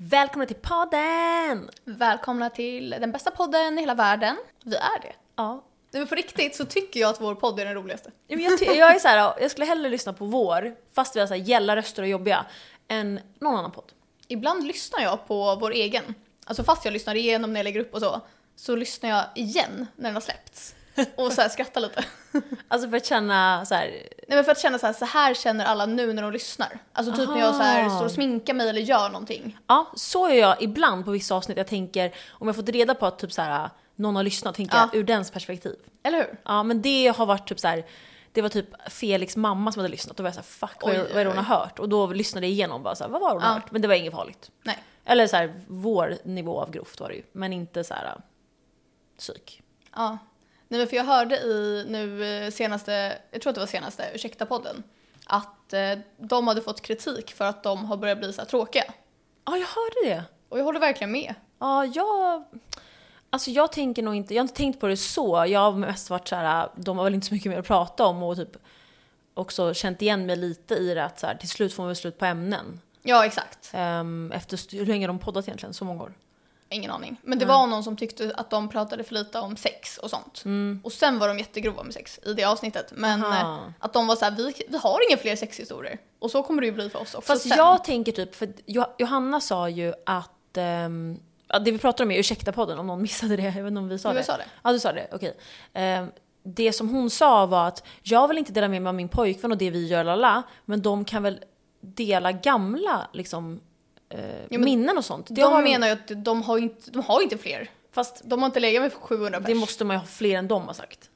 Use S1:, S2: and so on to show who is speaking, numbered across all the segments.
S1: Välkomna till podden!
S2: Välkomna till den bästa podden i hela världen. Vi är det.
S1: Ja.
S2: Nej, men på riktigt så tycker jag att vår podd är den roligaste.
S1: Men Jag, ty- jag är så här, jag skulle hellre lyssna på vår, fast vi har så här gälla röster och jobbiga, än någon annan podd.
S2: Ibland lyssnar jag på vår egen. Alltså fast jag lyssnar igenom när jag lägger upp och så, så lyssnar jag igen när den har släppts. Och så här skrattar lite.
S1: Alltså för att känna så här,
S2: Nej men för att känna så här, så här känner alla nu när de lyssnar. Alltså typ när jag så här
S1: Aha.
S2: står och sminkar mig eller gör någonting.
S1: ja, så gör jag ibland på vissa avsnitt. Jag tänker, om jag fått reda på att typ så här, någon har lyssnat, tänker jag
S2: Ja.
S1: ur dens perspektiv.
S2: Eller hur?
S1: Ja, men det har varit typ så här. Det var typ Felix mamma som hade lyssnat och var jag så här, fuck vad,
S2: Oj,
S1: är- vad är det hon har hört? Och då lyssnade jag igenom och bara så här, vad var hon har
S2: Ja.
S1: hört? Men det var inget farligt.
S2: Nej.
S1: Eller så här, vår nivå av grovt var det ju, men inte så här äh, psyk.
S2: Ja. Nej men för jag hörde i nu eh, senaste, jag tror att det var senaste, ursäkta podden, att eh, de hade fått kritik för att de har börjat bli så här tråkiga.
S1: Ja, jag hörde det.
S2: Och jag håller verkligen med.
S1: Ja, jag... Alltså jag tänker nog inte, jag har inte tänkt på det så. Jag har mest varit så här, de har väl inte så mycket mer att prata om och typ också känt igen mig lite i det att så här, till slut får man väl slut på ämnen.
S2: Ja, exakt.
S1: Ehm, efter, st- hur länge har de poddat egentligen? Så många år?
S2: Ingen aning. Men det var någon som tyckte att de pratade för lite om sex och sånt. Och sen var de jättegrova med sex i det avsnittet. Men
S1: Mm. Aha.
S2: eh, att de var så här, vi, vi har inga fler sexhistorier. Och så kommer det ju bli för oss också
S1: Fast
S2: sen.
S1: jag tänker typ, för Jo- Johanna sa ju att, ehm, ja, det vi pratade om är ursäkta podden om någon missade det, jag vet inte om vi sa
S2: Du
S1: det.
S2: sa det.
S1: Ja du sa det, okej. Ehm, det som hon sa var att jag vill inte dela med mig av min pojkvän och det vi gör lala, men de kan väl dela gamla liksom, eh,
S2: men
S1: minnen och sånt. Det
S2: de
S1: har
S2: menar ju att de har ju inte, de har ju inte fler.
S1: Fast
S2: De har inte legat med 700
S1: det
S2: pers.
S1: måste man ju ha fler än de har sagt.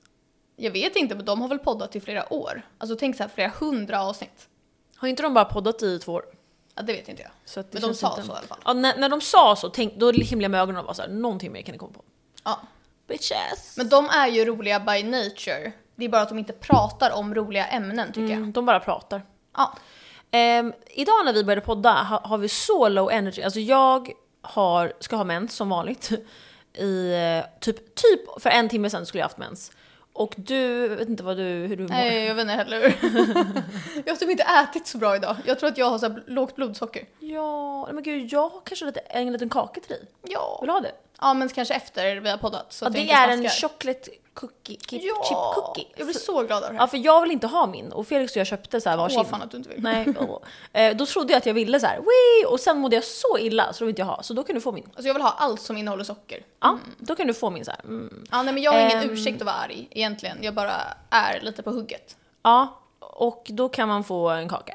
S2: Jag vet inte, men de har väl poddat i flera år. Alltså tänk så här, flera hundra avsnitt.
S1: Har inte de bara poddat i två år?
S2: Ja, det vet inte jag.
S1: Så att det
S2: Men de
S1: känns
S2: sa
S1: inte-
S2: så i alla fall.
S1: Ja, när, när de sa så, tänk, då himlade jag med ögonen och var såhär, någonting mer kan ni komma på.
S2: Ja.
S1: Bitches!
S2: Men de är ju roliga by nature. Det är bara att de inte pratar om roliga ämnen tycker jag.
S1: Mm, de bara pratar.
S2: Ja.
S1: Ehm, idag när vi började podda ha, har vi så low energy. Alltså jag har, ska ha mens som vanligt. I, eh, typ, typ för en timme sedan skulle jag haft mens. Och du, jag vet inte vad du, hur du mår.
S2: Nej, jag vet inte heller. jag har typ inte ätit så bra idag. Jag tror att jag har så här lågt blodsocker.
S1: Ja, nej men gud jag har kanske lite, en liten kaka till dig.
S2: Ja.
S1: Vill du ha det?
S2: Ja, men kanske efter vi har poddat. Så
S1: Ja,
S2: att jag
S1: det
S2: inte
S1: är en
S2: smaskar.
S1: chocolate cookie, chip,
S2: ja.
S1: chip cookie.
S2: Jag blir så glad av det
S1: Ja
S2: här.
S1: för jag vill inte ha min och Felix och jag köpte så här varsin.
S2: Åh, fan att du inte vill.
S1: Nej, åh. Eh, då trodde jag att jag ville så här, Wii! och sen mådde jag så illa så då vill inte jag ha. Så då kan du få min.
S2: Alltså jag vill ha allt som innehåller socker.
S1: Ja, då kan du få min så här. Mm.
S2: Ja, nej, men jag har ingen
S1: Ehm.
S2: ursäkt att vara arg egentligen. Jag bara är lite på hugget.
S1: Ja, och då kan man få en kaka.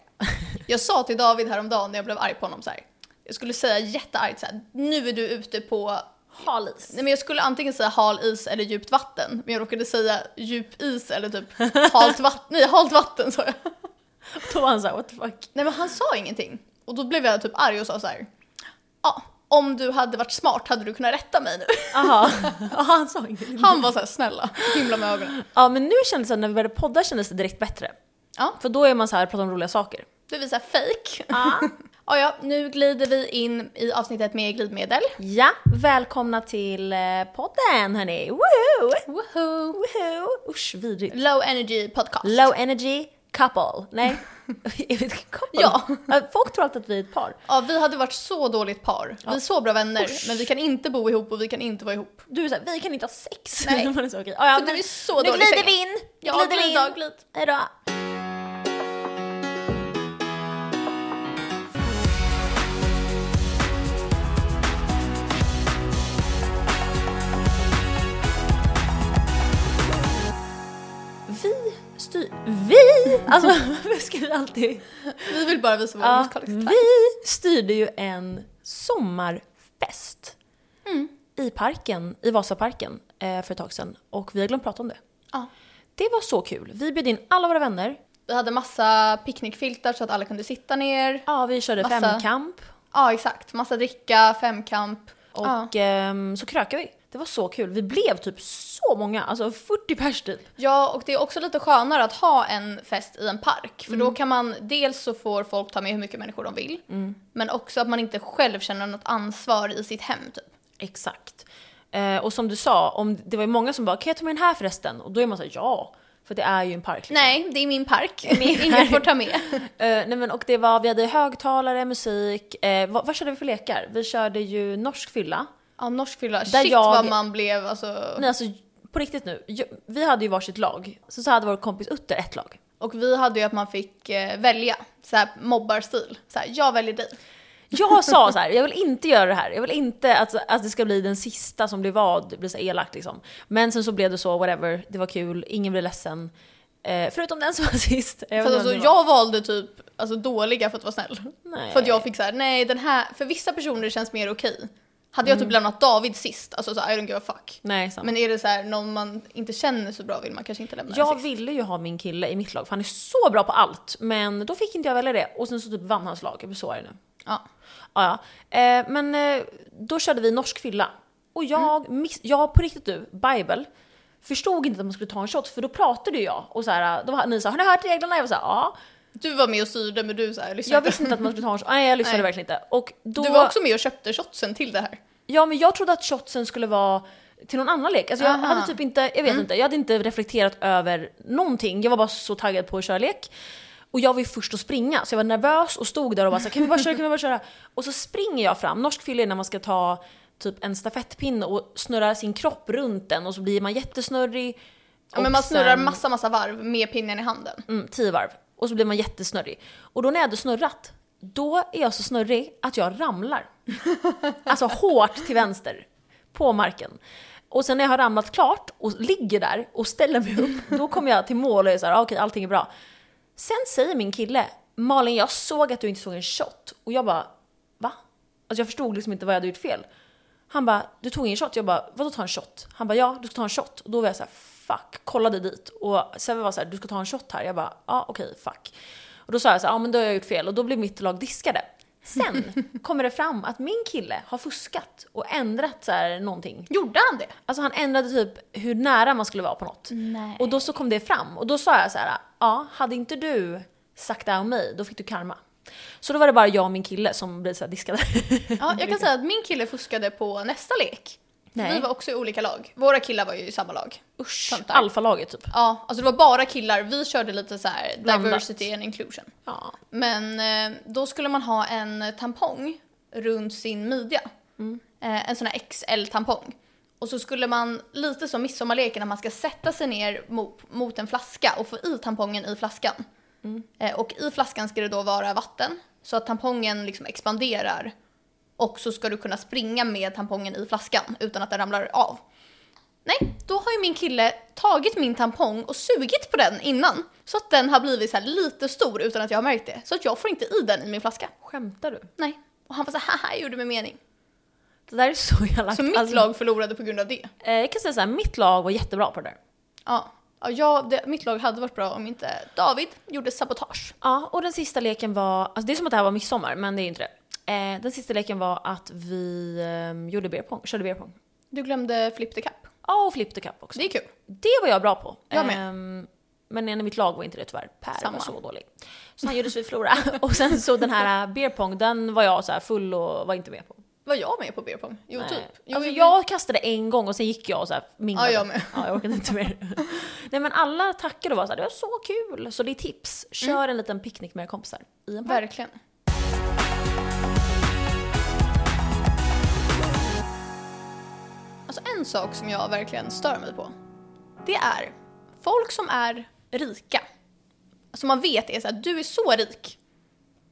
S2: Jag sa till David häromdagen när jag blev arg på honom så här. Jag skulle säga jätteargt så här. nu är du ute på
S1: Halis.
S2: Nej men jag skulle antingen säga hal is eller djupt vatten, men jag råkade säga djup is eller typ halt vatten, nej halt vatten sa jag.
S1: Då var han såhär, what the fuck.
S2: Nej men han sa ingenting. Och då blev jag typ arg och sa så här. Ja, om du hade varit smart hade du kunnat rätta mig nu.
S1: Aha. Ja, han sa ingenting.
S2: Han var så här snälla, himla med ögonen.
S1: Ja men nu kändes det, när vi började podda kändes det direkt bättre.
S2: Ja.
S1: För då är man så här pratar om roliga saker.
S2: Du visar fake.
S1: Ja.
S2: Ja, ja, nu glider vi in i avsnittet med glidmedel.
S1: ja, välkomna till eh, podden hörni. Woohoo!
S2: Woohoo!
S1: Woohoo! Usch vidrigt.
S2: Low energy podcast.
S1: Low energy couple. Nej, är vi ett couple?
S2: Ja.
S1: Folk tror alltid att vi är ett par.
S2: Ja, vi hade varit så dåligt par. Vi är så bra vänner,
S1: Usch.
S2: men vi kan inte bo ihop och vi kan inte vara ihop.
S1: Du är såhär, vi kan inte ha sex.
S2: Nej.
S1: Man är så, okej. Ja, ja,
S2: För
S1: men
S2: du är så
S1: nu
S2: dålig i
S1: glider
S2: sängen.
S1: vi in. Nu
S2: Ja,
S1: glider vi in.
S2: glida, glid.
S1: Hejdå. Vi styr... Vi! Alltså varför ska vi alltid...
S2: Vi vill bara visa vår
S1: Ja,
S2: musikaliska talang.
S1: vi styrde ju en sommarfest Mm. i parken, i Vasaparken eh, för ett tag sedan och vi har glömt prata om det.
S2: Ja.
S1: Det var så kul. Vi bjöd in alla våra vänner.
S2: Vi hade massa picknickfiltar så att alla kunde sitta ner.
S1: Ja, vi körde
S2: Massa.
S1: femkamp
S2: Ja, exakt. Massa dricka, femkamp. Och ja.
S1: och ehm, så krökade vi. Det var så kul. Vi blev typ så många, alltså 40 pers typ.
S2: ja, och det är också lite skönare att ha en fest i en park. För
S1: Mm.
S2: då kan man, dels så får folk ta med hur mycket människor de vill. Men också att man inte själv känner något ansvar i sitt hem typ.
S1: Exakt. Eh, och som du sa, om, det var ju många som bara “kan jag ta med den här förresten?” och då är man såhär “ja”. För det är ju en park.
S2: Nej, det är min park. Ingen får ta med.
S1: Eh, nej men och det var, vi hade högtalare, musik. Eh, vad, vad körde vi för lekar? Vi körde ju norsk fylla.
S2: Ja, norsk fylla.
S1: Där
S2: Shit
S1: jag-
S2: vad man blev alltså.
S1: Nej alltså på riktigt nu. Jag, vi hade ju varsitt lag. Så, så hade vår kompis Utter ett lag.
S2: Och vi hade ju att man fick eh, välja, så här mobbarstil. Så här, jag väljer dig.
S1: Jag sa så här, jag vill inte göra det här. Jag vill inte att, att det ska bli den sista som blir vad, det blir så elakt liksom. Men sen så blev det så, whatever, det var kul, ingen blev ledsen. Eh, förutom den som var sist. Jag vet
S2: För
S1: inte
S2: alltså,
S1: vem det var.
S2: jag valde typ alltså, dåliga för att vara snäll.
S1: Nej.
S2: För att jag fick så här, nej den här, för vissa personer känns mer okej. Hade jag
S1: Mm.
S2: typ lämnat David sist, alltså så här, I don't give a fuck.
S1: Nej, sant.
S2: Men är det så här, någon man inte känner så bra vill man kanske inte lämna den
S1: Jag
S2: sist.
S1: ville ju ha min kille i mitt lag för han är så bra på allt. Men då fick inte jag välja det och sen så typ vann hans lag. Jag blir så arg nu.
S2: Ja.
S1: Ja, ja. Eh, men eh, då körde vi norsk fylla. Och jag,
S2: Mm.
S1: miss, jag på riktigt du, Bible, förstod inte att man skulle ta en shot för då pratade ju jag och så här, då var, ni sa har ni hört reglerna? Jag var såhär ja.
S2: Du var med och styrde men du så här, lyssnade
S1: Jag
S2: inte.
S1: visste inte att man skulle ta en shot, nej jag lyssnade
S2: Nej.
S1: verkligen inte. Och då,
S2: Du var också med och köpte shotsen till det här.
S1: Ja men jag trodde att shotsen skulle vara till någon annan lek. Alltså jag
S2: Aha. Mm.
S1: hade typ inte, jag vet inte, jag hade inte reflekterat över någonting. Jag var bara så taggad på att köra lek. Och jag var ju först att springa så jag var nervös och stod där och bara så här, kan vi bara köra, kan vi bara köra? Och så springer jag fram, norsk fylla är när man ska ta typ en stafettpinne och snurra sin kropp runt den och så blir man jättesnurrig.
S2: Ja, men
S1: Och
S2: man snurrar
S1: sen-
S2: massa massa varv med pinnen i handen.
S1: Mm, tio varv. Och så blir man jättesnurrig. Och då när jag hade snurrat, då är jag så snurrig att jag ramlar. Alltså hårt till vänster. På marken. Och sen när jag har ramlat klart och ligger där och ställer mig upp, då kommer jag till mål och är såhär, ah, okej allting är bra. Sen säger min kille, Malin jag såg att du inte såg en shot. Och jag bara, va? Alltså jag förstod liksom inte vad jag hade gjort fel. Han bara, du tog ingen shot? Jag bara, vadå ta en shot? Han bara, ja du ska ta en shot. Och då var jag så här, fuck, kollade dit. Och Sebbe var så här, du ska ta en shot här. Jag bara, ja okej, fuck. Och då sa jag så här, ja men då har jag gjort fel. Och då blev mitt lag diskade. Sen kommer det fram att min kille har fuskat och ändrat så här någonting.
S2: Gjorde han det?
S1: Alltså han ändrade typ hur nära man skulle vara på något.
S2: Nej.
S1: Och då så kom det fram och då sa jag så här, ja hade inte du sagt det här om mig, då fick du karma. Så då var det bara jag och min kille som blev så här diskade.
S2: Ja, jag kan säga att min kille fuskade på nästa lek.
S1: Nej.
S2: Vi var också i olika lag. Våra killar var ju i samma lag.
S1: Usch,
S2: Töntar.
S1: alfalaget typ.
S2: Ja, alltså det var bara killar. Vi körde lite så här
S1: Blandat.
S2: diversity and inclusion.
S1: Ja.
S2: Men eh, då skulle man ha en tampong runt sin midja. Eh, en sån här XL-tampong. Och så skulle man, lite som midsommarleken, att man ska sätta sig ner mot, mot en flaska och få i tampongen i flaskan. Eh, och i flaskan ska det då vara vatten, så att tampongen liksom expanderar. Och så ska du kunna springa med tampongen i flaskan utan att den ramlar av. Nej, då har ju min kille tagit min tampong och sugit på den innan. Så att den har blivit så här lite stor utan att jag har märkt det. Så att jag får inte i den i min flaska.
S1: Skämtar du?
S2: Nej. Och han var så här, haha, jag gjorde med mening.
S1: Det där är så jävla...
S2: Så mitt
S1: alltså,
S2: lag förlorade på grund av det.
S1: Eh, jag kan säga så här, mitt lag var jättebra på det där.
S2: Ja. ja jag, det, mitt lag hade varit bra om inte David gjorde sabotage.
S1: Ja, och den sista leken var, alltså det är som att det här var midsommar, men det är ju inte det. Eh, den sista leken var att vi ehm, gjorde beer pong, körde beer pong.
S2: Du glömde flip the cup.
S1: Ja, och flip the cup också.
S2: Det är kul.
S1: Det var jag bra på.
S2: Jag med.
S1: Ehm, men en i mitt lag var inte det tyvärr. Per
S2: Samma.
S1: var så dålig. Så han gjorde så vi förlorade. och sen så den här eh, beer pong, den var jag så här full och var inte med på.
S2: Var jag med på beer pong? Jo,
S1: Nej.
S2: typ. Jo,
S1: alltså,
S2: jo,
S1: jag kastade en gång och sen gick jag och så här minglade.
S2: Ja, jag med.
S1: Ja, jag orkade inte mer. Nej men alla tackade och var så här, det var så kul. Så det är tips, kör en liten picknick med era kompisar i en park.
S2: Mm. Verkligen. Alltså en sak som jag verkligen stör mig på. Det är folk som är rika. Som man vet är så här, du är så rik.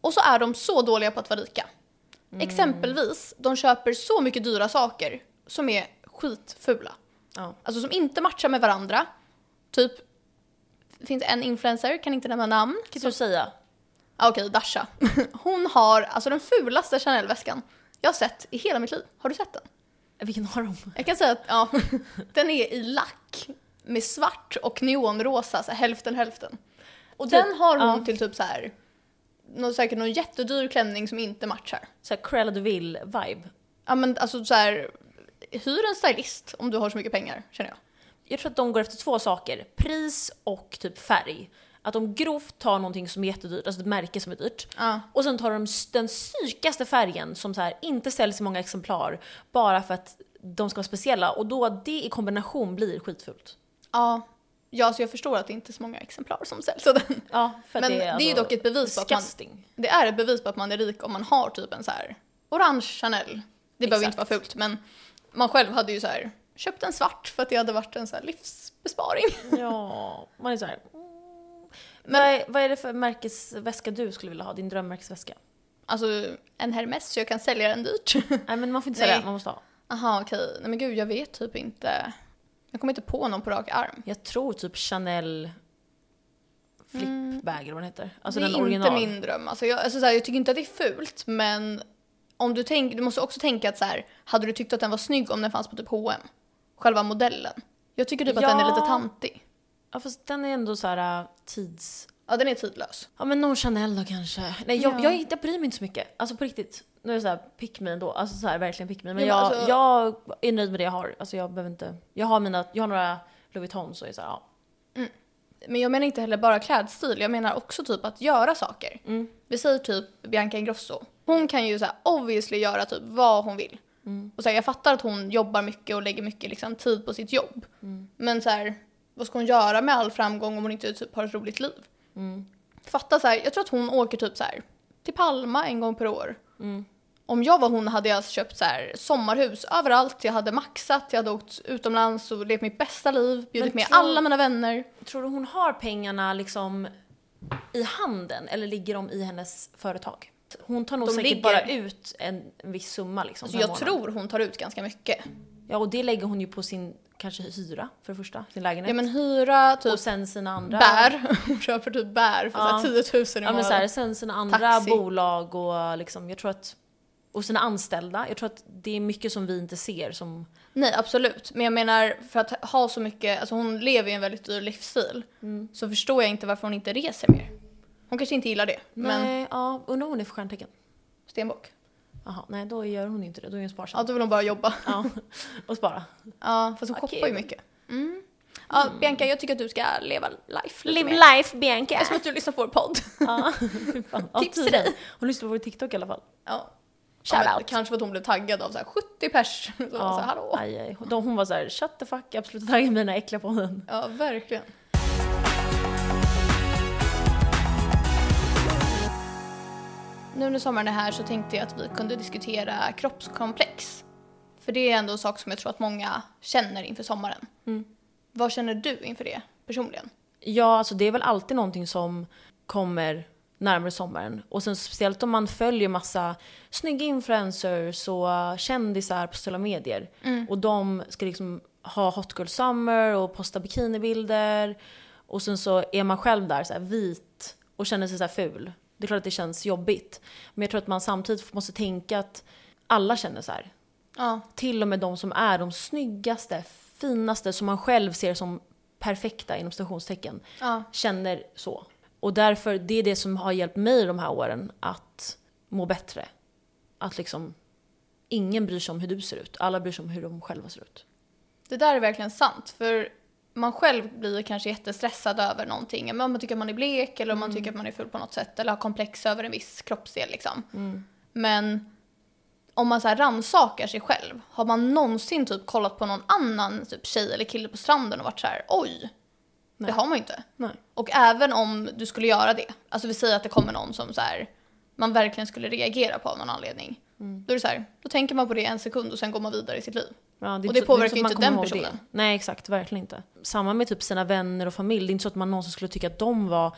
S2: Och så är de så dåliga på att vara rika. Exempelvis, de köper så mycket dyra saker som är skitfula.
S1: Ja.
S2: Alltså som inte matchar med varandra. Typ, det finns en influencer, kan inte nämna namn.
S1: Kan du säga?
S2: Ja, Ah, Okej, Dasha. Hon har alltså den fulaste Chanel-väskan jag har sett i hela mitt liv. Har du sett den?
S1: Vilken har de?
S2: Jag kan säga att ja, den är i lack med svart och neonrosa, så här, hälften hälften. Och
S1: Typ,
S2: den har hon
S1: ja.
S2: till typ så här, någon, säkert någon jättedyr klänning som inte matchar.
S1: Såhär Cruella de Vil vibe.
S2: Ja men alltså så här, hyr en stylist om du har så mycket pengar känner jag.
S1: Jag tror att de går efter två saker, pris och typ färg. Att de grovt tar någonting som är jättedyrt, alltså ett märke som är dyrt.
S2: Ja.
S1: Och sen tar de s- den psykaste färgen som så här, inte säljs i många exemplar bara för att de ska vara speciella och då det i kombination blir skitfult.
S2: Ja, Ja, så jag förstår att det inte är så många exemplar som säljs av den.
S1: Ja, för
S2: Men
S1: det är,
S2: det är ju
S1: alltså
S2: dock ett bevis på att man,
S1: disgusting.
S2: det är ett bevis på att man är rik om man har typ en så här orange Chanel. Det behöver inte vara
S1: Exakt.
S2: fult, men man själv hade ju så här köpt en svart för att det hade varit en så här livsbesparing.
S1: Ja, man är såhär... Men vad är, vad är det för märkesväska du skulle vilja ha? Din drömmärkesväska?
S2: Alltså en Hermes så jag kan sälja den dyrt.
S1: Nej men man får inte säga
S2: Nej.
S1: det, man måste ha.
S2: Aha, okej. Nej men gud, jag vet typ inte. Jag kommer inte på någon på rak arm.
S1: Jag tror typ Chanel flipbag eller vad den heter. Alltså
S2: Mm. det är
S1: den original.
S2: inte min dröm. Alltså jag, alltså så här, jag tycker inte att det är fult, men om du, tänk, du måste också tänka att så här, hade du tyckt att den var snygg om den fanns på typ H&M? Själva modellen. Jag tycker typ att den är
S1: Ja.
S2: lite tantig.
S1: Ja fast den är ändå så här äh, tids...
S2: Ja, den är tidlös.
S1: Ja men någon Chanel då kanske. Nej jag,
S2: Ja.
S1: jag, jag bryr mig inte så mycket. Alltså på riktigt. Nu är det såhär pick me ändå. Alltså såhär verkligen pick me. Men
S2: Ja,
S1: jag,
S2: men alltså-
S1: jag är nöjd med det jag har. Alltså jag behöver inte... Jag har mina, jag har några Louis Vuitton så är det såhär ja.
S2: Men jag menar inte heller bara klädstil, jag menar också typ att göra saker.
S1: Mm,
S2: Vi säger typ Bianca Ingrosso. Hon kan ju så här obviously göra typ vad hon vill. Och så här, jag fattar att hon jobbar mycket och lägger mycket liksom, tid på sitt jobb. Men så här, vad ska hon göra med all framgång om hon inte typ har ett roligt liv?
S1: mm,
S2: Fatta så här, jag tror att hon åker typ så här till Palma en gång per år.
S1: mm.
S2: Om jag var hon hade jag köpt så här sommarhus överallt, jag hade maxat, jag hade åkt utomlands och levt mitt bästa liv, bjudit
S1: Men
S2: med
S1: tror-
S2: alla mina vänner.
S1: Tror du hon har pengarna liksom i handen eller ligger de i hennes företag? Hon tar nog
S2: De
S1: säkert
S2: ligger-
S1: bara ut en, en viss summa liksom.
S2: Så
S1: per
S2: jag
S1: månad.
S2: tror hon tar ut ganska mycket.
S1: Ja och det lägger hon ju på sin kanske hyra för det första, sin lägenhet.
S2: Ja men hyra, typ
S1: och sen sina andra...
S2: bär. Hon köper typ bär för
S1: Ja.
S2: så här 10 000 i
S1: Ja men
S2: månaden.
S1: så här, sen sina andra
S2: Taxi.
S1: bolag och liksom, jag tror att... Och sina anställda. Jag tror att det är mycket som vi inte ser som...
S2: Nej absolut, men jag menar för att ha så mycket, alltså hon lever ju en väldigt dyr livsstil. Så förstår jag inte varför hon inte reser mer. Hon kanske inte gillar det, men
S1: Nej, ja, undrar om hon är för stjärntecken.
S2: stenbock.
S1: Jaha, nej då gör hon inte det, då är hon sparsam.
S2: Ja då vill hon bara jobba.
S1: Ja, och spara.
S2: Ja fast hon shoppar ju
S1: Okej.
S2: mycket. Mm. Ja Bianca jag tycker att du ska leva life lite mer.
S1: life Bianca!
S2: Eftersom att du lyssnar på vår podd.
S1: Ja, fy fan. Ja,
S2: Tips till
S1: tydligen.
S2: dig.
S1: Hon lyssnar på vår TikTok i alla fall.
S2: Ja.
S1: Shout
S2: men
S1: out.
S2: Kanske för att hon blev taggad av så här 70 pers. Så ja. så här, hallå.
S1: aj, aj. De, hon var såhär, shut the fuck up, sluta tagga mina äckliga på den.
S2: Ja, verkligen. Nu när sommaren är här så tänkte jag att vi kunde diskutera kroppskomplex. För det är ändå en sak som jag tror att många känner inför sommaren. Vad känner du inför det personligen?
S1: Ja, alltså det är väl alltid någonting som kommer närmare sommaren. Och sen speciellt om man följer massa snygga influencers och eh, kändisar på sociala medier. Och de ska liksom ha hot girl summer och posta bikinibilder. Och sen så är man själv där så här vit och känner sig så här ful. Det är klart att det känns jobbigt. Men jag tror att man samtidigt måste tänka att alla känner så här
S2: Ja,
S1: till och med de som är de snyggaste, finaste, som man själv ser som perfekta inom stationstecken,
S2: Ja.
S1: känner så. Och därför, det är det som har hjälpt mig de här åren att må bättre. Att liksom, ingen bryr sig om hur du ser ut, alla bryr sig om hur de själva ser ut.
S2: det där är verkligen sant. För man själv blir kanske jättestressad över någonting. Men Om man tycker att man är blek eller om
S1: Mm.
S2: man tycker att man är ful på något sätt. Eller har komplex över en viss kroppsdel liksom.
S1: Mm.
S2: Men om man så här rannsakar sig själv, har man någonsin typ kollat på någon annan typ tjej eller kille på stranden och varit så här: oj,
S1: Nej.
S2: det har man ju inte.
S1: Nej.
S2: Och även om du skulle göra det, alltså vi säger att det kommer någon som så här, man verkligen skulle reagera på av någon anledning.
S1: Mm.
S2: Då är det så här, då tänker man på det en sekund och sen går man vidare i sitt liv.
S1: Ja, är
S2: Och
S1: inte
S2: det
S1: så-
S2: påverkar
S1: är
S2: ju
S1: så att man
S2: inte den
S1: kommer ihåg
S2: personen.
S1: Det. Nej exakt, verkligen inte. Samma med typ sina vänner och familj, det är inte så att man någonsin skulle tycka att de var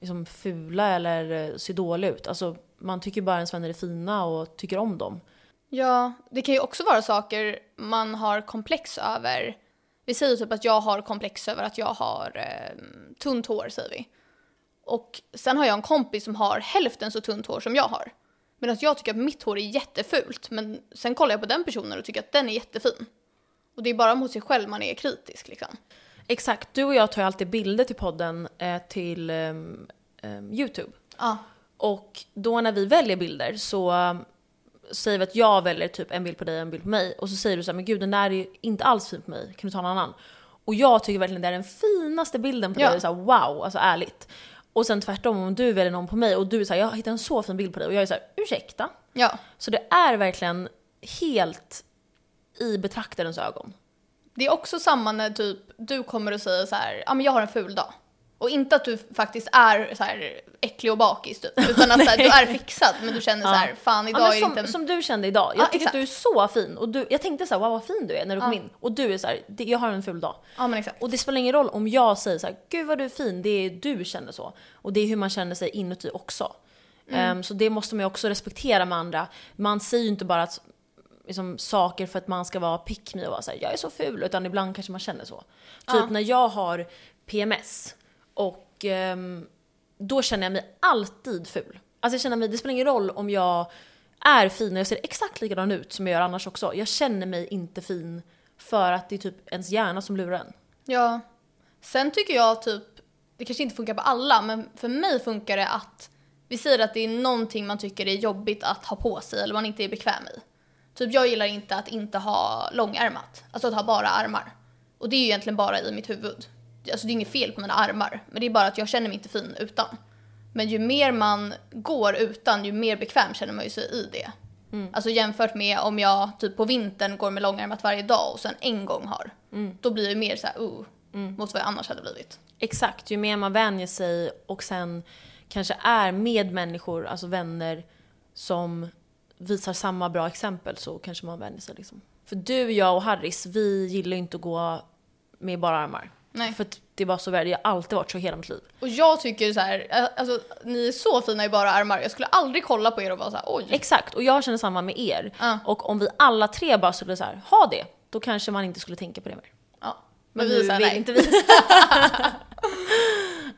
S1: liksom fula eller eh, ser dåliga ut. Alltså, man tycker bara ens vänner är fina och tycker om dem.
S2: Ja, det kan ju också vara saker man har komplex över. Vi säger typ att jag har komplex över att jag har eh, tunt hår, säger vi. Och sen har jag en kompis som har hälften så tunt hår som jag har. Medan jag tycker att mitt hår är jättefult, men sen kollar jag på den personen och tycker att den är jättefin. Och det är bara mot sig själv man är kritisk liksom.
S1: Exakt, du och jag tar ju alltid bilder till podden eh, till ehm, ehm, Youtube.
S2: Ja.
S1: Och då när vi väljer bilder så ehm, säger vi att jag väljer typ en bild på dig och en bild på mig. Och så säger du så här, men gud den där är ju inte alls fin på mig, kan du ta en annan? Och jag tycker verkligen det är den finaste bilden på
S2: Ja.
S1: dig, och så här, wow, alltså ärligt. Och sen tvärtom om du väljer någon på mig och du säger jag hittade en så fin bild på dig och jag är så här, ursäkta?
S2: Ja,
S1: Så det är verkligen helt i betraktarens ögon.
S2: Det är också samma när typ du kommer och säger så här, ja men jag har en ful dag. Och inte att du faktiskt är så här äcklig och bakis typ, utan att så här, du är fixad men du känner så här, fan idag
S1: ja, men
S2: är det
S1: som,
S2: inte en...
S1: som du kände idag. Jag
S2: Ja,
S1: tycker
S2: exakt.
S1: att du är så fin. Och du, jag tänkte så här, wow vad fin du är när du kom
S2: Ja.
S1: in. Och du är så här, "Det- jag har en ful dag.
S2: Ja men exakt.
S1: Och det spelar ingen roll om jag säger så här, gud vad du är fin, det är du känner så. Och det är hur man känner sig inuti också. Ehm, så det måste man ju också respektera med andra. Man säger ju inte bara att, liksom, saker för att man ska vara pick me och vara så här, jag är så ful, utan ibland kanske man känner så. Typ när jag har PMS och ehm, då känner jag mig alltid ful. Alltså jag känner mig, det spelar ingen roll om jag är fin och jag ser exakt likadan ut som jag gör annars också. Jag känner mig inte fin för att det är typ ens hjärna som lurar en.
S2: Ja. Sen tycker jag typ, det kanske inte funkar på alla, men för mig funkar det att vi säger att det är någonting man tycker är jobbigt att ha på sig eller man inte är bekväm i. Typ jag gillar inte att inte ha långärmat, alltså att ha bara armar. Och det är ju egentligen bara i mitt huvud. Alltså det är inget fel på mina armar, men det är bara att jag känner mig inte fin utan. Men ju mer man går utan, ju mer bekväm känner man ju sig i det. Alltså jämfört med om jag typ på vintern går med långärmat varje dag och sen en gång har.
S1: Mm.
S2: Då blir jag ju mer så här, oh, mot vad jag annars hade blivit.
S1: Exakt, ju mer man vänjer sig och sen kanske är med människor, alltså vänner som visar samma bra exempel så kanske man vänjer sig liksom. För du, jag och Harris, vi gillar ju inte att gå med bara armar.
S2: Nej.
S1: För att det är bara så värre, jag har alltid varit så hela mitt liv.
S2: Och jag tycker så här, eh, alltså ni är så fina i bara armar. Jag skulle aldrig kolla på er och vara så här, oj.
S1: Exakt, och jag känner samma med er.
S2: Ja.
S1: Och om vi alla tre bara skulle så här, ha det, då kanske man inte skulle tänka på det mer.
S2: Ja.
S1: Men,
S2: Men
S1: nu
S2: vi är så här,
S1: vill
S2: nej.
S1: inte vi.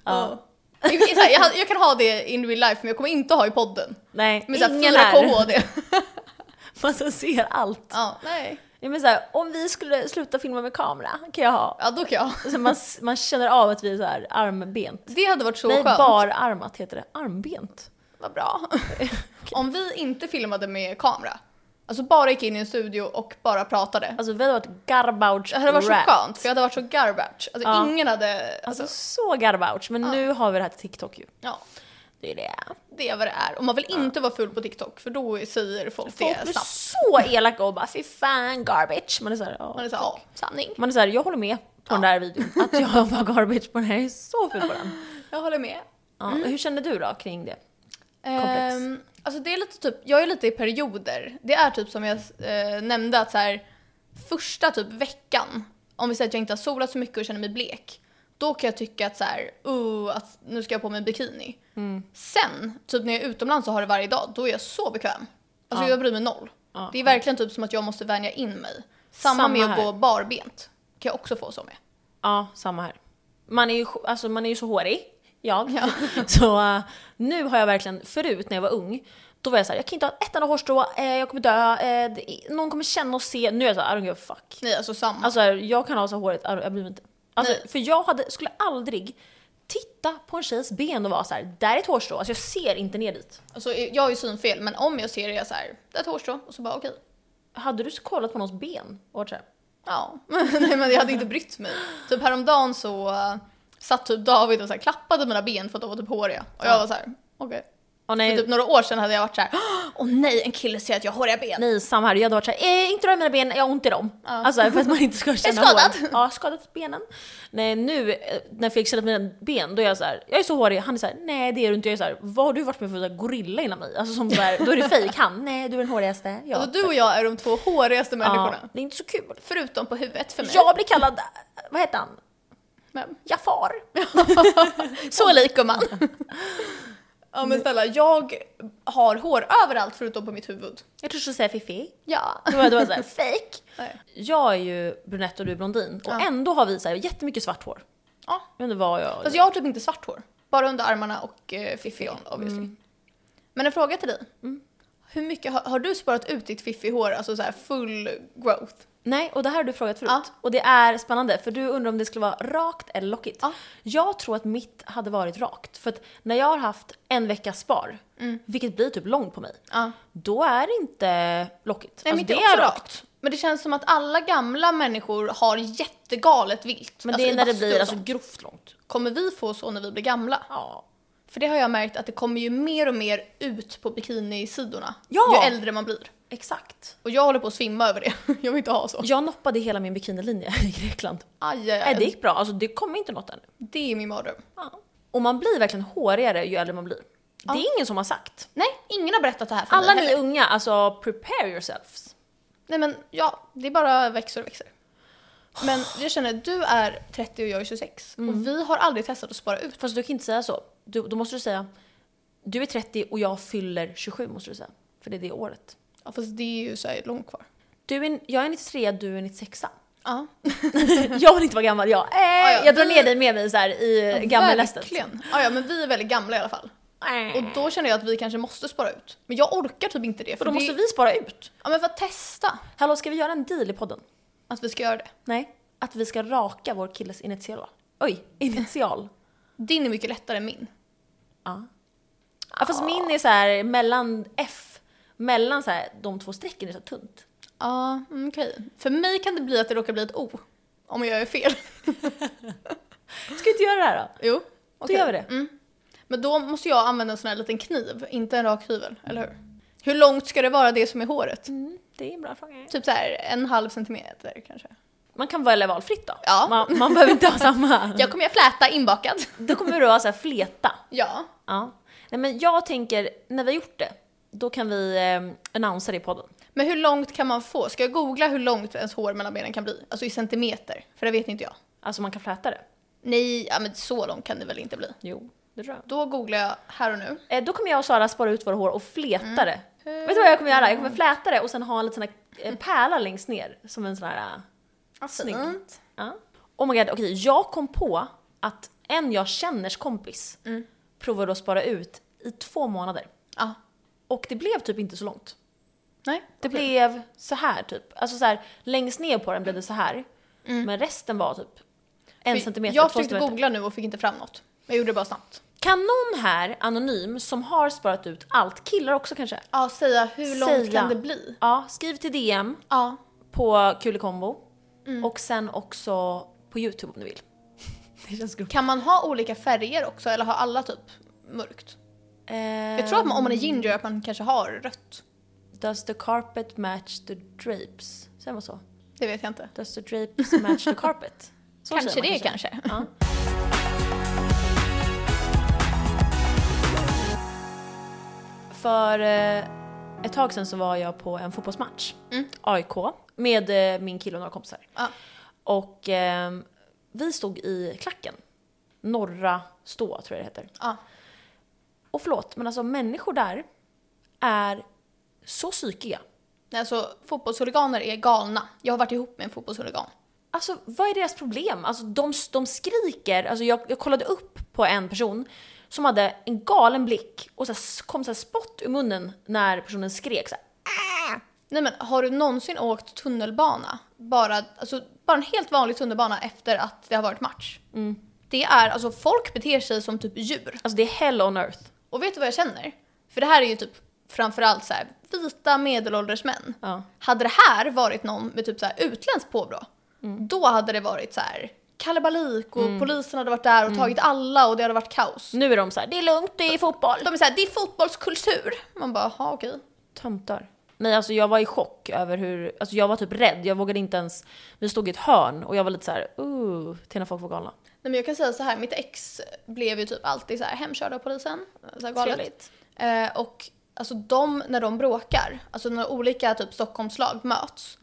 S2: Ja. Det är så här, jag, jag kan ha det in real life men jag kommer inte ha i podden.
S1: Nej,
S2: Med så här,
S1: ingen
S2: 4K
S1: är.
S2: HD.
S1: Man som ser allt.
S2: Ja, nej.
S1: Jag menar så här, om vi skulle sluta filma med kamera kan jag ha
S2: Ja, då kan jag.
S1: Så man, man känner av att vi är så här armbent.
S2: Det hade varit så
S1: Nej,
S2: skönt.
S1: bararmat heter det. Armbent.
S2: Vad bra. Om vi inte filmade med kamera, alltså bara gick in i en studio och bara pratade.
S1: Alltså vi har varit garbage
S2: Det hade varit
S1: rat.
S2: så skönt för jag hade varit så garbage. Alltså
S1: Ja.
S2: ingen hade... Alltså,
S1: Alltså så garbage. Men nu har vi det här till TikTok ju.
S2: ja,
S1: Det är det.
S2: det är vad det är. Och man vill inte vara ful på TikTok för då säger folk,
S1: Folk
S2: det
S1: blir
S2: snabbt.
S1: så elaka och bara fy fan garbage. Man är såhär, ja.
S2: Man är såhär, ja, sanning.
S1: Man är så här, jag håller med på den där videon. Att jag var garbage på den här. Jag är så ful på den.
S2: Jag håller med.
S1: Ja.
S2: Mm.
S1: Hur känner du då kring det? Komplex.
S2: Ehm, alltså det är lite typ, jag är lite i perioder. Det är typ som jag eh, nämnde att så här, första typ veckan, om vi säger att jag inte har solat så mycket och känner mig blek, då kan jag tycka att så här, uh, att nu ska jag på mig en bikini.
S1: Mm.
S2: Sen, typ när jag är utomlands och har det varje dag, då är jag så bekväm. Alltså
S1: Ja.
S2: jag bryr mig noll.
S1: Ja,
S2: det är verkligen typ som att jag måste vänja in mig. Samma,
S1: Samma
S2: med att
S1: här.
S2: gå barbent, kan jag också få så med.
S1: Ja, samma här. Man är ju, alltså, man är ju så hårig, jag. Så eh, nu har jag verkligen, förut när jag var ung, då var jag såhär, jag kan inte ha ett enda hårstrå, eh, jag kommer dö, eh, det, någon kommer känna och se. Nu är jag såhär, I don't give a fuck.
S2: Nej, alltså samma.
S1: Alltså jag kan ha så här håret, I don't- jag bryr mig inte. Alltså,
S2: Nej.
S1: för jag hade, skulle aldrig titta på en tjejs ben och vara så här: där är ett hårstrå, alltså jag ser inte ner dit.
S2: Alltså, jag har ju synfel, men om jag ser det, jag så här, det är ett hårstrå, och så bara okej.
S1: Hade du så kollat på någons ben och varit såhär,
S2: Ja, nej men jag hade inte brytt mig. Typ häromdagen så uh, satt typ David och så här klappade mina ben för att de var typ håriga. Och jag var så här, okej.
S1: åh
S2: För
S1: nej,
S2: Typ några år sedan hade jag varit så här, åh nej en kille säger att jag har håriga ben.
S1: nej samma här, jag hade varit såhär, eh, inte röra mina ben, jag har ont i dem. Alltså för att man inte ska känna
S2: skadad.
S1: hår. Ja, skadat benen. Nej nu eh, när Felix känner mina ben, då är jag så här, jag är så hårig, han är så här, nej det är du inte. Jag är så här, vad har du varit med för så här gorilla innan mig? Alltså som så här, då är det fejk, han, nej du är den hårigaste. Jag.
S2: Alltså du och jag är de två hårigaste människorna.
S1: ja, det är inte så kul.
S2: Förutom på huvudet för mig.
S1: Jag blir kallad, eh, vad heter han?
S2: Men,
S1: Jafar.
S2: så lik gumman. ja men snälla, jag har hår överallt förutom på mitt huvud.
S1: Jag tror du skulle säga Fifi.
S2: Ja.
S1: Då var jag då var jag så här, fake.
S2: Nej.
S1: Jag är ju brunett och du är blondin och
S2: Ja.
S1: ändå har vi så här, jättemycket svart hår.
S2: ja.
S1: Jag undrar vad jag...
S2: Fast jag har typ inte svart hår. Bara under armarna och eh, fiffiga
S1: Mm.
S2: obviously. Men en fråga till dig. Hur mycket har, har du sparat ut ditt fiffihår, alltså så här full growth?
S1: Nej, och det här har du frågat förut.
S2: Ja.
S1: Och det är spännande, för du undrar om det skulle vara rakt eller lockigt.
S2: Ja.
S1: Jag tror att mitt hade varit rakt. För att när jag har haft en vecka spar,
S2: Mm.
S1: vilket blir typ långt på mig,
S2: Ja.
S1: då är det inte lockigt.
S2: Nej men
S1: Alltså,
S2: det är rakt. Men det känns som att alla gamla människor har jättegalet vilt.
S1: Men
S2: alltså
S1: det
S2: i
S1: är när det
S2: bastu och
S1: blir alltså,
S2: sånt.
S1: grovt långt.
S2: Kommer vi få så när vi blir gamla?
S1: Ja.
S2: För det har jag märkt att det kommer ju mer och mer ut på bikinisidorna
S1: Ja.
S2: ju äldre man blir.
S1: Exakt.
S2: Och jag håller på att svimma över det. Jag vill inte ha så.
S1: Jag noppade hela min bikinilinje i Grekland.
S2: Aj, aj,
S1: Nej, det
S2: aj.
S1: gick bra. Alltså, det kom inte något ännu.
S2: Det är min mardröm.
S1: Ja. Och man blir verkligen hårigare ju äldre man blir.
S2: Ja.
S1: Det är ingen som har sagt.
S2: Nej, ingen har berättat det här för
S1: Alla
S2: mig
S1: ni
S2: heller.
S1: unga, alltså prepare yourselves.
S2: Nej men ja, det bara växer och växer. Men jag känner, du är 30 och jag är 26. Och vi har aldrig testat att spara ut.
S1: Fast du kan inte säga så. Du, då måste du säga, du är 30 och jag fyller 27 måste du säga. För det är det året.
S2: Ja, fast det är ju så här långt kvar.
S1: Du är, jag är 93, du är 96.
S2: Ja,
S1: jag vill inte vara gammal jag. Äh,
S2: ja,
S1: jag drar
S2: vi-
S1: ner dig med mig så här i gammellästet.
S2: Verkligen. Ja, ja, men vi är väldigt gamla i alla fall. Och
S1: Äh.
S2: då känner jag att vi kanske måste spara ut. Men jag orkar typ inte det.
S1: För då
S2: det...
S1: måste vi spara ut.
S2: Ja men för att testa
S1: Hallå, ska vi göra en deal i podden?
S2: att vi ska göra det.
S1: Nej. Att vi ska raka vår killes initial. Oj, initial.
S2: Din är mycket lättare än min.
S1: Ja. ja fast min är så här mellan F, mellan så här, de två strecken är så här tunt.
S2: Ja, mm, okej. För mig kan det bli att det råkar bli ett O. Om jag gör fel.
S1: Ska vi inte göra det här då?
S2: Jo. okej.
S1: gör vi det.
S2: Mm. Men då måste jag använda en sån här liten kniv, inte en rak hyvel, eller hur? Hur långt ska det vara det som är håret?
S1: Mm, det är en bra fråga.
S2: Typ så här en halv centimeter kanske.
S1: Man kan välja valfritt då.
S2: Ja.
S1: Man, man behöver inte ha samma.
S2: Jag kommer jag fläta inbakad.
S1: Då kommer du ha så här fleta.
S2: Ja.
S1: Ja. Nej men jag tänker, när vi har gjort det, då kan vi eh, annonsera det i podden.
S2: Men hur långt kan man få? Ska jag googla hur långt ens hår mellan benen kan bli? Alltså i centimeter, för det vet inte jag.
S1: Alltså man kan fläta det.
S2: Nej, ja, men så långt kan det väl inte bli.
S1: Jo, det tror jag.
S2: Då googlar jag här och nu.
S1: Eh, då kommer jag och Sara spara ut våra hår och fleta det.
S2: Eh,
S1: Vet du vad jag kommer göra? Jag kommer fläta det och sen ha en liten sån här eh, pärla längst ner. Som en sån här... eh, Snyggt. Ja. Oh my god, okej. Jag kom på att en jag känners kompis provade att spara ut i två månader.
S2: Ja.
S1: Och det blev typ inte så långt.
S2: Nej.
S1: Det blev så här typ. Alltså så här, längst ner på den blev det så här. Men resten var typ en
S2: Mm. För
S1: centimeter,
S2: Jag
S1: två
S2: försökte
S1: centimeter.
S2: googla nu och fick inte fram något. Jag gjorde det bara snabbt.
S1: Kan någon här, anonym, som har sparat ut allt, killar också kanske?
S2: Ja, säga hur långt
S1: Säga.
S2: kan det bli?
S1: Ja, skriv till DM
S2: Ja.
S1: på Kulikombo.
S2: Mm.
S1: Och sen också på YouTube om du vill. Det känns grovt.
S2: Kan man ha olika färger också eller har alla typ mörkt?
S1: eh,
S2: Jag tror att man, om man är ginger att man kanske har rött.
S1: Does the carpet match the drapes? Säger man så?
S2: Det vet jag inte.
S1: Does the drapes match the carpet? Så
S2: kanske
S1: säger
S2: det
S1: man
S2: kanske.
S1: Ja. För eh, ett tag sedan så var jag på en fotbollsmatch, AIK, med eh, min kille och några kompisar.
S2: Mm. Ja.
S1: Och eh, vi stod i klacken, Norra Stå tror jag det heter.
S2: Ja.
S1: Och förlåt, men alltså människor där är så psykiga.
S2: Nej, Alltså fotbollshuliganer är galna. Jag har varit ihop med en fotbollshuligan.
S1: Alltså vad är deras problem? Alltså de, de skriker, alltså jag, jag kollade upp på en person som hade en galen blick och så här, kom så här spott ur munnen när personen skrek. Så här.
S2: Nej men har du någonsin åkt tunnelbana? Bara, alltså, bara en helt vanlig tunnelbana efter att det har varit match. Det är, alltså folk beter sig som typ djur.
S1: Alltså det är hell on earth.
S2: Och vet du vad jag känner? För det här är ju typ framförallt så här, vita medelålders män.
S1: Ja.
S2: Hade det här varit någon med typ så här utländskt påbrå, då hade det varit så här kalabalik och polisen hade varit där och tagit alla och det hade varit kaos.
S1: Nu är de så här, det är lugnt, det är fotboll.
S2: De är så här, det är fotbollskultur. Man bara, jaha okej.
S1: Töntar. Nej alltså jag var i chock över hur, alltså jag var typ rädd, jag vågade inte ens, vi stod i ett hörn och jag var lite så här, uh, till när folk var galna.
S2: Nej men jag kan säga så här, mitt ex blev ju typ alltid så här hemkörd av polisen. Så här galet.
S1: Trevligt.
S2: Eh, och alltså de, när de bråkar, alltså när olika typ Stockholmslag möts,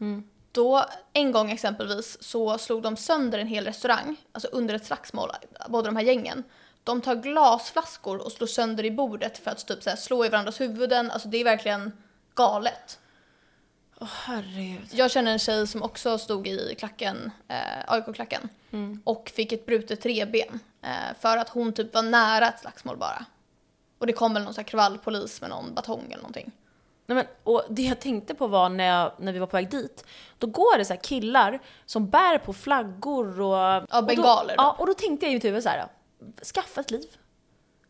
S2: då en gång exempelvis så slog de sönder en hel restaurang, alltså under ett slagsmål, båda de här gängen. De tar glasflaskor och slår sönder i bordet för att typ så här, slå i varandras huvuden, alltså det är verkligen galet.
S1: Åh herregud.
S2: Jag känner en tjej som också stod i klacken, eh, AIK-klacken, och fick ett brutet revben eh, för att hon typ var nära ett slagsmål bara. Och det kom väl någon så här kravallpolis med någon batong eller någonting.
S1: Nej, men, och det jag tänkte på var när, jag, när vi var på väg dit, då går det så här killar som bär på flaggor och... Ja,
S2: bengaler
S1: Då,
S2: då.
S1: ja, och då tänkte jag i mitt huvud så här, skaffa ett liv.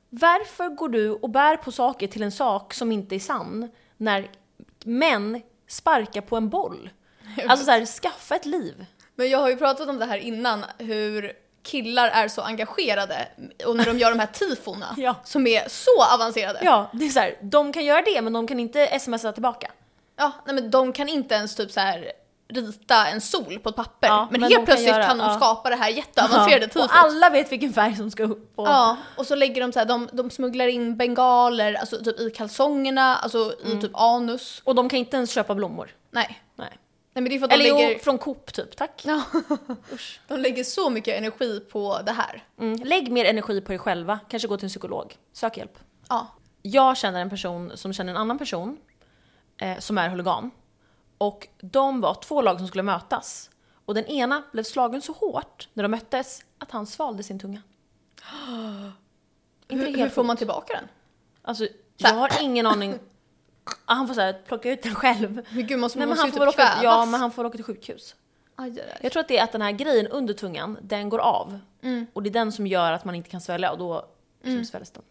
S1: Varför går du och bär på saker till en sak som inte är sann när män sparkar på en boll? Alltså så här, skaffa ett liv.
S2: Men jag har ju pratat om det här innan, hur killar är så engagerade och när de gör de här tifona
S1: Ja.
S2: som är så avancerade.
S1: Ja, det är så här, de kan göra det men de kan inte smsa tillbaka.
S2: Ja, nej men de kan inte ens typ så här rita en sol på ett papper.
S1: Ja,
S2: men,
S1: men
S2: helt
S1: de kan
S2: plötsligt kan,
S1: göra-
S2: de
S1: ja.
S2: skapa det här jätteavancerade
S1: Ja,
S2: tifot.
S1: Och alla vet vilken färg som ska upp på.
S2: Ja, och så lägger de så här, de, de smugglar in bengaler alltså typ i kalsongerna, alltså
S1: Mm.
S2: i typ anus.
S1: Och de kan inte ens köpa blommor.
S2: Nej.
S1: Nej.
S2: Nej men det är för att
S1: Eller
S2: de
S1: jo,
S2: lägger,
S1: från Coop typ, tack.
S2: ja, de lägger så mycket energi på det här.
S1: Mm. Lägg mer energi på dig själva, kanske gå till en psykolog. Sök hjälp.
S2: Ja.
S1: Jag känner en person som känner en annan person eh, som är huligan. Och de var två lag som skulle mötas. Och den ena blev slagen så hårt när de möttes att han svalde sin tunga. Inte
S2: Hur,
S1: helt
S2: hur får
S1: sjukt.
S2: man tillbaka den?
S1: Alltså,
S2: Så
S1: jag
S2: här.
S1: har ingen aning. Ah, han får så här, plocka ut den själv.
S2: Men gud, måste,
S1: Nej, men
S2: måste
S1: han
S2: ju
S1: får
S2: typ
S1: väl åka,
S2: kvävas.
S1: ja, men han får åka till sjukhus.
S2: Aj, aj, aj.
S1: Jag tror att det är att den här grejen under tungan, den går av.
S2: Mm.
S1: Och det är den som gör att man inte kan svälja och då mm. sväljs den.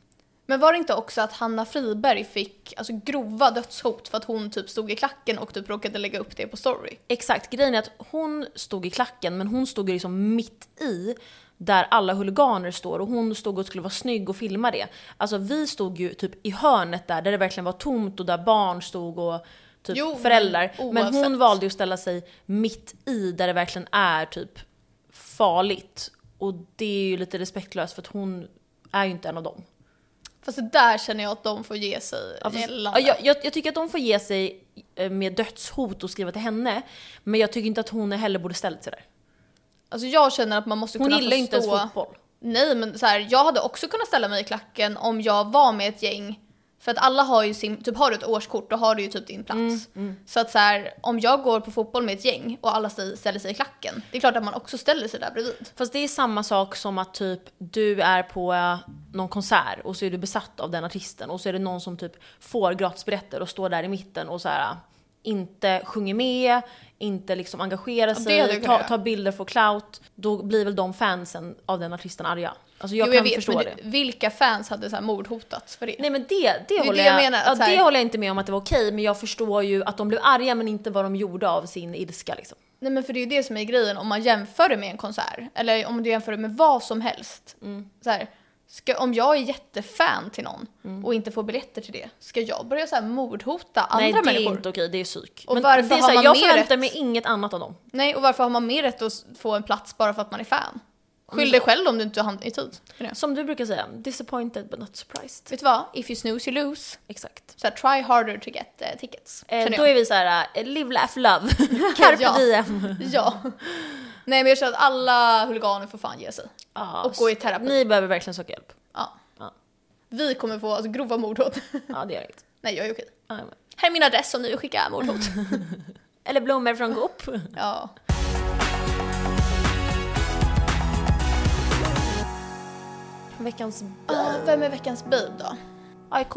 S2: Men var det inte också att Hanna Friberg fick alltså, grova dödshot för att hon typ stod i klacken och typ råkade lägga upp det på story?
S1: Exakt, grejen är att hon stod i klacken men hon stod ju liksom mitt i där alla huliganer står och hon stod och skulle vara snygg och filma det. Alltså vi stod ju typ i hörnet där, där det verkligen var tomt och där barn stod och typ
S2: Jo, men
S1: föräldrar. Men hon
S2: oavsett.
S1: valde ju att ställa sig mitt i där det verkligen är typ farligt. Och det är ju lite respektlöst för att hon är ju inte en av dem.
S2: Fast det där känner jag att de får ge sig
S1: Ja, fast-
S2: gällande.
S1: Alltså, Ja, jag, jag, jag tycker att de får ge sig eh, med dödshot och skriva till henne. Men jag tycker inte att hon heller borde ställt sig där.
S2: Alltså jag känner att man måste
S1: Hon
S2: kunna
S1: gillar ju inte ens
S2: förstå...
S1: fotboll.
S2: Nej men så här, jag hade också kunnat ställa mig i klacken om jag var med ett gäng. För att alla har ju sin, typ har du ett årskort då har du ju typ din plats.
S1: Mm,
S2: Så att så här, om jag går på fotboll med ett gäng och alla stä- ställer sig i klacken, det är klart att man också ställer sig där bredvid.
S1: Fast det är samma sak som att typ du är på eh, någon konsert och så är du besatt av den artisten och så är det någon som typ får gratisbiljetter och står där i mitten och så här eh, inte sjunger med, inte liksom engagerar
S2: det
S1: sig,
S2: hade jag kunnat
S1: ta,
S2: göra.
S1: ta bilder för clout. Då blir väl de fansen av den artisten arga. Alltså jag
S2: Jo,
S1: kan förstå
S2: men
S1: det.
S2: vilka fans hade så här mordhotats för det?
S1: Nej men det, det,
S2: ju
S1: håller,
S2: det jag
S1: jag,
S2: menar, att så
S1: ja,
S2: här-
S1: det håller jag inte med om att det var okej, men jag förstår ju att de blev arga men inte vad de gjorde av sin ilska liksom.
S2: Nej men för det är ju det som är grejen om man jämför det med en konsert. Eller om du jämför det med vad som helst.
S1: Mm.
S2: Så här, ska, om jag är jättefan till någon
S1: Mm.
S2: och inte får biljetter till det, ska jag börja så här mordhota andra
S1: Nej det
S2: människor?
S1: är inte okej, det är psyk.
S2: Och varför
S1: det är
S2: har man
S1: jag
S2: mer
S1: förväntar
S2: rätt?
S1: mig inget annat av dem.
S2: Nej, och varför har man mer rätt att s- få en plats bara för att man är fan? Skyll dig själv om du inte hann i tid. med det.
S1: Som du brukar säga, disappointed but not surprised.
S2: Vet du vad? If you snooze you lose.
S1: Exakt.
S2: Så här, try harder to get eh, tickets.
S1: Eh,
S2: känner
S1: då
S2: jag.
S1: är vi så här: eh, live, laugh, love. Carpe
S2: Ja.
S1: diem.
S2: Ja. Nej men jag känner att alla huliganer får fan ge sig.
S1: Ja,
S2: Och gå i terapi.
S1: Ni behöver verkligen söka hjälp.
S2: Ja.
S1: Ja.
S2: Vi kommer få alltså, grova mordhot.
S1: Ja det är rätt.
S2: Nej jag är okej.
S1: Ja, jag med.
S2: Här är min adress om ni vill skicka mordhot.
S1: Eller blommor från Coop.
S2: ja.
S1: Veckans
S2: Ja, vem är veckans babe då?
S1: AIK,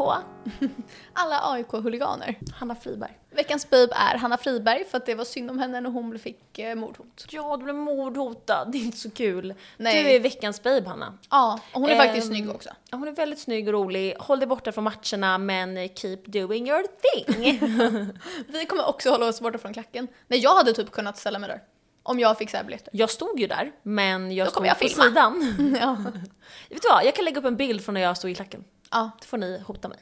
S2: Alla AIK-huliganer.
S1: Hanna Friberg.
S2: Veckans babe är Hanna Friberg för att det var synd om henne när hon fick eh, mordhot.
S1: Ja du blev mordhotad, det är inte så kul.
S2: Nej.
S1: Du är veckans babe Hanna.
S2: Ja, och hon är faktiskt
S1: Ehm,
S2: snygg också.
S1: Ja, Hon är väldigt snygg och rolig. Håll dig borta från matcherna men keep doing your thing.
S2: Vi kommer också hålla oss borta från klacken. Nej, jag hade typ kunnat ställa mig där. Om jag fick så här biljetter.
S1: jag stod ju där men jag
S2: Då
S1: stod
S2: kommer jag
S1: på
S2: filma.
S1: sidan.
S2: ja.
S1: Vet du vad, jag kan lägga upp en bild från när jag stod i klacken.
S2: ja.
S1: Då får ni hota mig.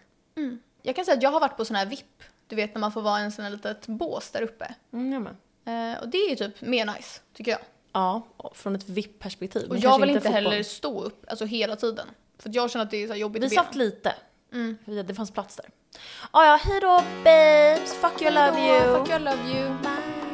S2: Jag kan säga att jag har varit på sån här VIP. Du vet när man får vara i en sån här litet bås där uppe.
S1: Mm, jag med.
S2: Eh, och det är ju typ mer nice, tycker jag.
S1: Ja, och från ett VIP-perspektiv.
S2: Och
S1: men
S2: jag
S1: kanske
S2: vill inte
S1: fotboll.
S2: heller stå upp, alltså hela tiden. För att jag känner att det är så här jobbigt
S1: Vi
S2: i benen.
S1: satt lite.
S2: Mm.
S1: Vi- Det fanns plats där. Ah, ja, hej då babes! Fuck you, I love
S2: Hejdå,
S1: you!
S2: Fuck you, I love you.
S1: Bye.